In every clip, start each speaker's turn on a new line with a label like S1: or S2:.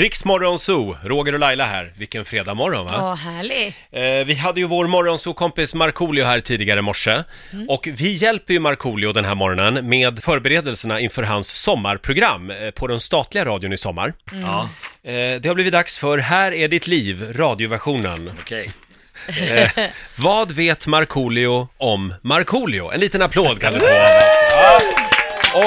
S1: Riksmorgon Zoo, Roger och Laila här. Vilken fredag morgon va?
S2: Ja, härlig.
S1: Eh, vi hade ju vår morgonzoo-kompis Markoolio här tidigare i morse. Och vi hjälper ju Markoolio den här morgonen med förberedelserna inför hans sommarprogram eh, på den statliga radion i sommar.
S3: Ja,
S1: Eh, det har blivit dags för Här är ditt liv, radioversionen.
S3: okej.
S1: Vad vet Markoolio om Markoolio? En liten applåd kan du få. Ja.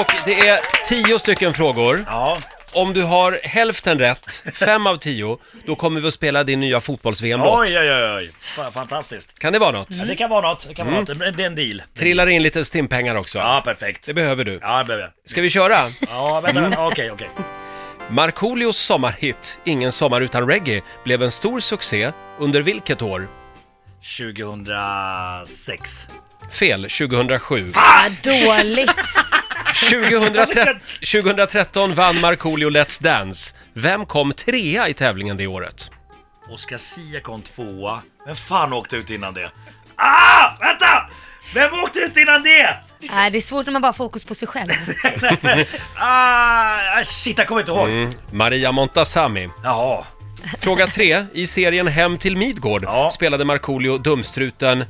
S1: Och det är tio stycken frågor.
S3: Ja,
S1: Om du har hälften rätt, fem av tio, då kommer vi att spela din nya fotbolls-VM-låt.
S3: oj, Mm. oj, oj, oj. Fan, fantastiskt.
S1: Kan det vara något?
S3: Ja, det kan vara något, det kan vara något. Det är en deal.
S1: Trillar in lite stimpengar också.
S3: Ja, perfekt.
S1: Det behöver du.
S3: Ja, det behöver jag.
S1: Ska vi köra?
S3: Ja, vänta, vänta. okej, okej.
S1: Markoolios sommarhit Ingen sommar utan reggae blev en stor succé under vilket år?
S3: 2006.
S1: Fel, 2007.
S2: Ah, dåligt.
S1: 2013, 2013 vann Markoolio Let's Dance. Vem kom trea i tävlingen det året?
S3: Oscar Sia kom tvåa. Vem fan åkte ut innan det? Ah! Vänta! Vem åkte ut innan det?
S2: Nej, Äh, det är svårt när man bara har fokus på sig själv.
S3: Ah, ah, shit, jag kommer inte ihåg.
S1: Maria Montazami.
S3: Jaha.
S1: Fråga tre. I serien Hem till Midgård
S3: Ja.
S1: spelade Markoolio dumstruten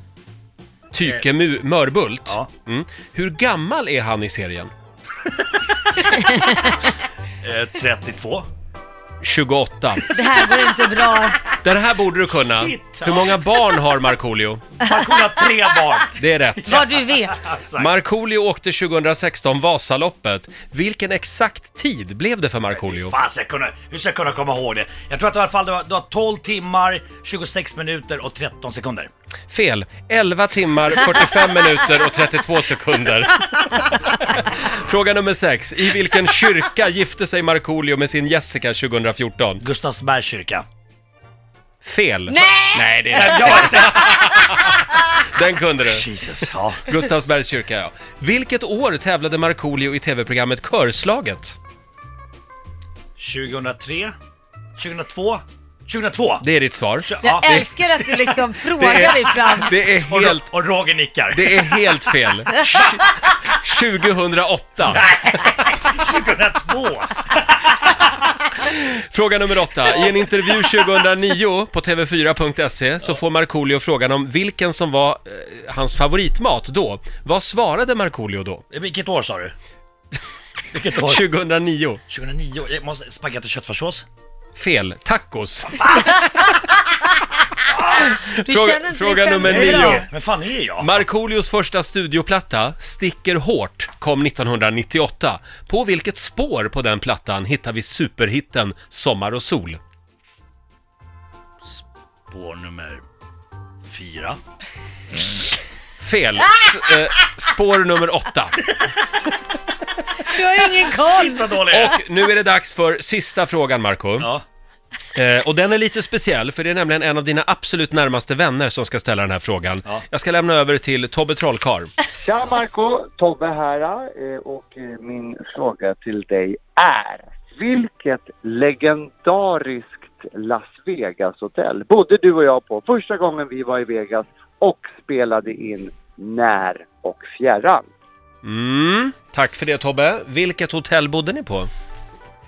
S1: Tyke Mu- Mörbult.
S3: Ja.
S1: Mm. Hur gammal är han i serien?
S3: Eh, 32.
S1: 28.
S2: Det här går inte bra.
S1: Den här borde du kunna.
S3: Shit, ja.
S1: Hur många barn har Markoolio?
S3: Markoolio har tre barn.
S1: Det är rätt.
S2: Vad du vet.
S3: Exakt.
S1: Markoolio åkte 2016 Vasaloppet. Vilken exakt tid blev det för Markoolio?
S3: Fan, ska jag kunna, hur ska jag kunna komma ihåg det? Jag tror att det i alla fall det var, det var 12 timmar, 26 minuter och 13 sekunder.
S1: Fel. 11 timmar, 45 minuter och 32 sekunder. Fråga nummer 6. I vilken kyrka gifte sig Markoolio med sin Jessica 2014?
S3: Gustavsbergs kyrka.
S1: Fel.
S2: Nej!
S1: Nej, det är Den kunde du.
S3: Jesus, ja.
S1: Gustavsbergs kyrka, ja. Vilket år tävlade Markoolio i tv-programmet Körslaget?
S3: 2003? 2002? 2002!
S1: Det är ditt svar.
S3: Ja,
S2: Jag älskar att du liksom frågar dig fram.
S1: Det är
S3: och,
S1: helt...
S3: Ro- och Roger nickar.
S1: Det är helt fel. Tj- 2008.
S3: 2002!
S1: Fråga nummer åtta. I en intervju 2009 på TV4.se så får Markoolio frågan om vilken som var eh, hans favoritmat då. Vad svarade Markoolio då?
S3: Vilket år sa du? Vilket år?
S1: 2009.
S3: 2009? Jag måste, spagetti och köttfärssås?
S1: Fel. Tacos.
S2: Du
S1: Fråga-
S2: känner inte
S1: fråga
S2: dig
S1: nummer
S2: själv så
S1: nio.
S2: bra.
S3: Men fan är jag?
S1: Markoolios första studioplatta, Sticker hårt, kom 1998. På vilket spår på den plattan hittar vi superhitten Sommar och sol?
S3: Spår nummer fyra.
S1: Fel. S- eh, spår nummer åtta.
S2: Du har ju ingen koll.
S3: Shit vad dålig jag är.
S1: Och nu är det dags för sista frågan, Marco.
S3: Ja.
S1: Eh, och den är lite speciell, för det är nämligen en av dina absolut närmaste vänner som ska ställa den här frågan.
S3: Ja.
S1: Jag ska lämna över till Tobbe Trollkarl.
S4: Tja Marco, Tobbe här eh, och eh, min fråga till dig är vilket legendariskt Las Vegas-hotell bodde du och jag på första gången vi var i Vegas och spelade in När och fjärran?
S1: Mm, tack för det Tobbe. Vilket hotell bodde ni på?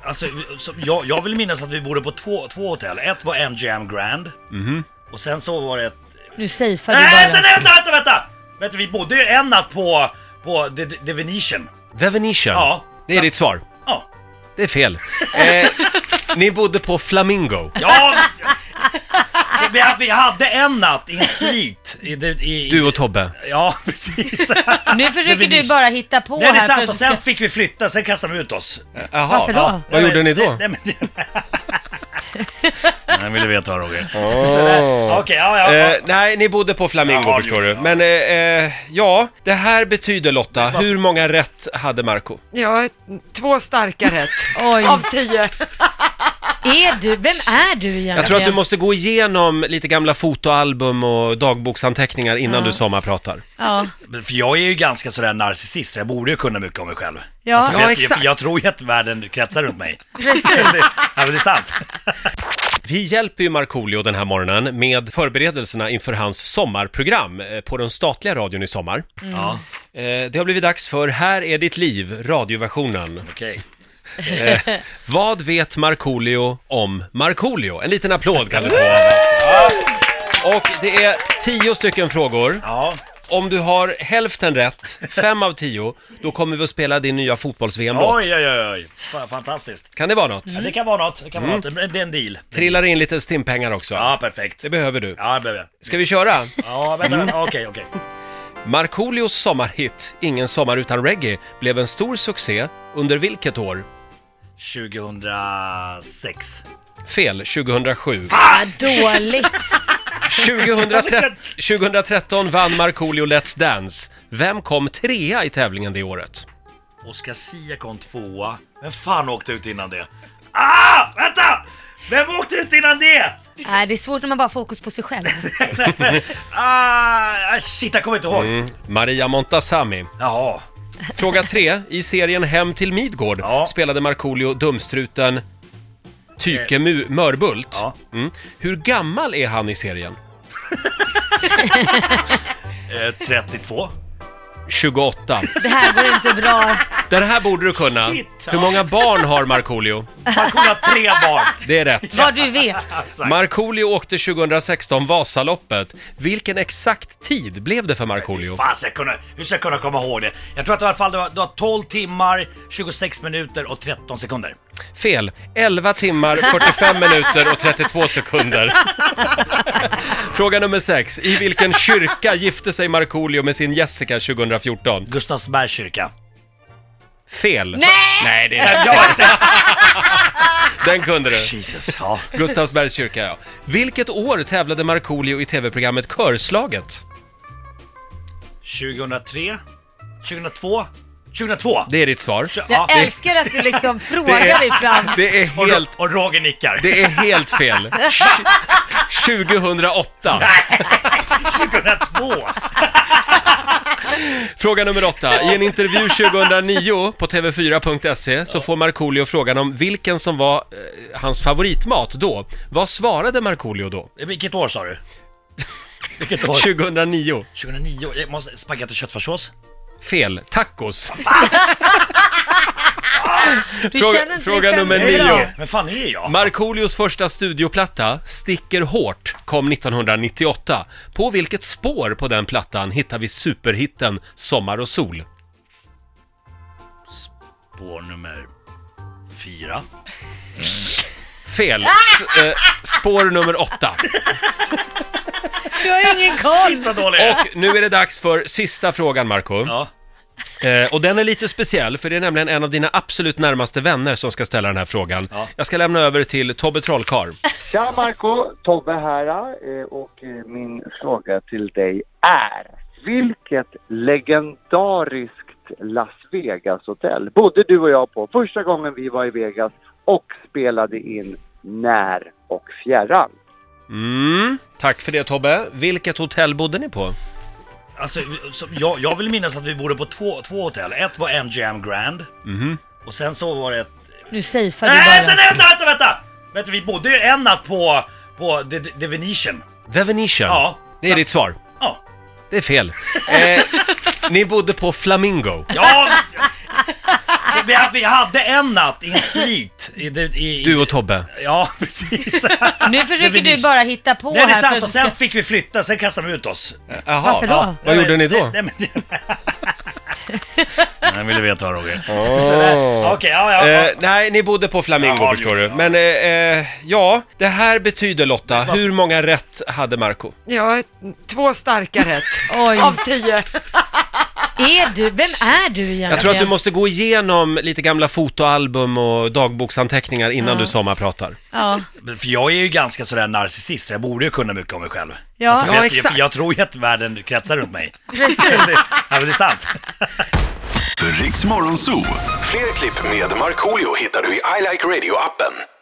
S3: Alltså, som, jag, jag vill minnas att vi bodde på två, två hotell. Ett var MGM Grand.
S1: Mhm.
S3: Och sen så var det ett...
S2: Nu safear
S3: Nej,
S2: du
S3: vänta,
S2: bara.
S3: nej, vänta, vänta, vänta! Vänta, vi bodde ju en natt på, på The, The Venetian.
S1: The Venetian.
S3: Ja.
S1: Det är ditt svar.
S3: Ja.
S1: Det är fel. Eh, ni bodde på Flamingo.
S3: Ja! men- vi, vi hade en natt i en svit. I, det- i, i,
S1: Du och Tobbe.
S3: Ja, precis.
S2: Nu försöker
S3: Det är
S2: du bara hitta på
S3: Nej, det
S2: här
S3: är
S2: för att
S3: sant.
S2: du
S3: Och
S2: ska...
S3: sen fick vi flytta, sen kastade de ut oss.
S1: Jaha.
S2: Varför då?
S1: Vad
S3: Nej, men-
S1: gjorde ni då?
S3: Nej, men... Jag ville veta Roger. Så där- Okej, ja, ja. ja.
S1: Eh, nej, ni bodde på Flamingo
S3: Jaha,
S1: förstår
S3: det
S1: du.
S3: gjorde
S1: Men eh, eh, ja, det här betyder Lotta, hur många rätt hade Marco?
S5: Ja, två starka rätt
S2: Oj,
S5: av tio.
S2: är du... Vem är du egentligen?
S1: Jag tror att du måste gå igenom lite gamla fotoalbum och dagboksanteckningar innan du sommarpratar.
S2: Ja,
S3: Men För jag är ju ganska sådär narcissist, så jag borde ju kunna mycket om mig själv.
S2: Ja.
S3: Alltså,
S1: Ja,
S3: jag,
S1: exakt.
S3: Jag, jag tror ju att världen kretsar runt mig.
S2: precis.
S3: Det, ja, men det är sant.
S1: Vi hjälper ju Markoolio den här morgonen med förberedelserna inför hans sommarprogram eh, på den statliga radion i sommar.
S3: Ja,
S1: Eh, Det har blivit dags för Här är ditt liv, radioversionen.
S3: okej.
S1: Eh, vad vet Markoolio om Markoolio? En liten applåd kan du få av oss. Ja. Och det är tio stycken frågor.
S3: Ja,
S1: Om du har hälften rätt, fem av tio, då kommer vi att spela din nya fotbolls-VM-låt.
S3: oj, Mm. oj, oj, oj. Fan, fantastiskt.
S1: Kan det vara något?
S3: Ja, det kan vara något, det kan vara något. Det är en deal.
S1: Trillar in lite stimpengar också.
S3: Ja, perfekt.
S1: Det behöver du.
S3: Ja, det behöver jag.
S1: Ska vi köra?
S3: Ja, vänta, vänta. Okej, okej.
S1: Markoolios sommarhit Ingen sommar utan reggae blev en stor succé under vilket år?
S3: 2006.
S1: Fel, 2007.
S2: Vad dåligt.
S1: 2013, 2013 vann Markoolio Let's Dance. Vem kom trea i tävlingen det året?
S3: Oscar Sia kom tvåa. Vem fan åkte ut innan det? Ah! Vänta! Vem åkte ut innan det?
S2: Nej, Äh, det är svårt när man bara har fokus på sig själv.
S3: Ah, ah, shit, jag kommer inte ihåg.
S1: Maria Montazami.
S3: Jaha.
S1: Fråga tre. I serien Hem till Midgård
S3: Ja.
S1: spelade Markoolio dumstruten Tyke Mu- Mörbult.
S3: Eh. Ja.
S1: Mm. Hur gammal är han i serien?
S3: Eh, 32.
S1: 28.
S2: Det här går inte bra.
S1: Den här borde du kunna.
S3: Shit, ja.
S1: Hur många barn har Markoolio?
S3: Markoolio har tre barn.
S1: Det är rätt.
S2: Vad du vet.
S3: Exakt.
S1: Markoolio åkte 2016 Vasaloppet. Vilken exakt tid blev det för Markoolio?
S3: Fan, ska jag kunna, hur ska jag kunna komma ihåg det? Jag tror att i alla fall det var, det var 12 timmar, 26 minuter och 13 sekunder.
S1: Fel. 11 timmar, 45 minuter och 32 sekunder. Fråga nummer 6. I vilken kyrka gifte sig Markoolio med sin Jessica 2014?
S3: Gustavsbergs kyrka.
S1: Fel.
S2: Nej!
S1: Nej, det är
S3: Ja, inte-
S1: Den kunde du.
S3: Jesus, ja.
S1: Gustavsbergs kyrka, ja. Vilket år tävlade Markoolio i tv-programmet Körslaget?
S3: 2003? 2002? 2002?
S1: Det är ditt svar.
S3: Ja,
S2: Jag
S3: det-
S2: älskar att du liksom frågar dig fram.
S1: Det är
S3: och,
S1: helt...
S3: och Roger nickar.
S1: Det är helt fel. Tj- 2008.
S3: 2002!
S1: Fråga nummer åtta. I en intervju 2009 på TV4.se så får Markoolio frågan om vilken som var eh, hans favoritmat då. Vad svarade Markoolio då?
S3: Vilket år sa du? Vilket år?
S1: 2009.
S3: 2009? Jag måste, spagetti och köttfärssås?
S1: Fel. Tacos.
S2: Du
S1: Fråga-
S2: känner inte
S1: fråga
S2: dig
S1: nummer
S2: själv.
S1: nio.
S2: Bra.
S3: Men fan är jag?
S1: Markoolios första studioplatta, Sticker hårt, kom 1998. På vilket spår på den plattan hittar vi superhitten Sommar och sol?
S3: Spår nummer fyra.
S1: Fel. S- eh, spår nummer åtta.
S2: Du har ju ingen koll.
S3: Shit vad dålig jag är.
S1: Och nu är det dags för sista frågan, Marco.
S3: Ja.
S1: Eh, och den är lite speciell, för det är nämligen en av dina absolut närmaste vänner som ska ställa den här frågan.
S3: Ja.
S1: Jag ska lämna över till Tobbe Trollkarl.
S4: Tja Marco, Tobbe här eh, och eh, min fråga till dig är vilket legendariskt Las Vegas-hotell bodde du och jag på första gången vi var i Vegas och spelade in När och fjärran?
S1: Mm, tack för det Tobbe. Vilket hotell bodde ni på?
S3: Alltså, som, jag, jag vill minnas att vi bodde på två, två hotell. Ett var MGM Grand. Och sen så var det ett...
S2: Nu safear
S3: Nej,
S2: du bara.
S3: vänta, nej, vänta, vänta, vänta! Vänta, vi bodde ju en natt på, på The, The Venetian.
S1: The Venetian.
S3: Ja.
S1: Det är ditt svar.
S3: Ja.
S1: Det är fel. Eh, ni bodde på Flamingo.
S3: Ja! vi, vi- vi hade en natt i en svit. I, det- i, i,
S1: Du och Tobbe.
S3: Ja, precis.
S2: Nu
S3: Det
S2: försöker
S3: blir-
S2: du bara hitta på
S3: Nej, det
S2: här.
S3: är
S2: för att
S3: sant.
S2: du
S3: Och
S2: ska...
S3: sen fick vi flytta, sen kastade de ut oss.
S1: Jaha.
S2: Varför då?
S1: Vad
S3: Nej,
S1: gjorde
S3: men-
S1: ni då?
S3: Nej, men... Nej, vill du veta Roger? Så där- Okej, ja, ja. ja.
S1: Eh, nej, ni bodde på Flamingo
S3: Jaha,
S1: förstår du.
S3: det gjorde
S1: Men eh, eh, ja, det här betyder Lotta, hur många rätt hade Marco?
S5: Ja, två starka rätt
S2: Oj,
S5: av tio.
S2: är du... Vem är du egentligen?
S1: Jag tror att du måste gå igenom lite gamla fotoalbum och dagboksanteckningar innan du sommarpratar.
S2: Ja,
S3: För jag är ju ganska sådär narcissist, så jag borde ju kunna mycket om mig själv.
S2: Ja.
S3: Alltså,
S1: Ja,
S3: jag,
S1: exakt.
S3: Jag, jag tror ju att världen kretsar runt mig.
S2: precis.
S3: Det- ja, men det är sant.
S6: Riks Morgonzoo. Fler klipp med Markoolio hittar du i I like radio-appen.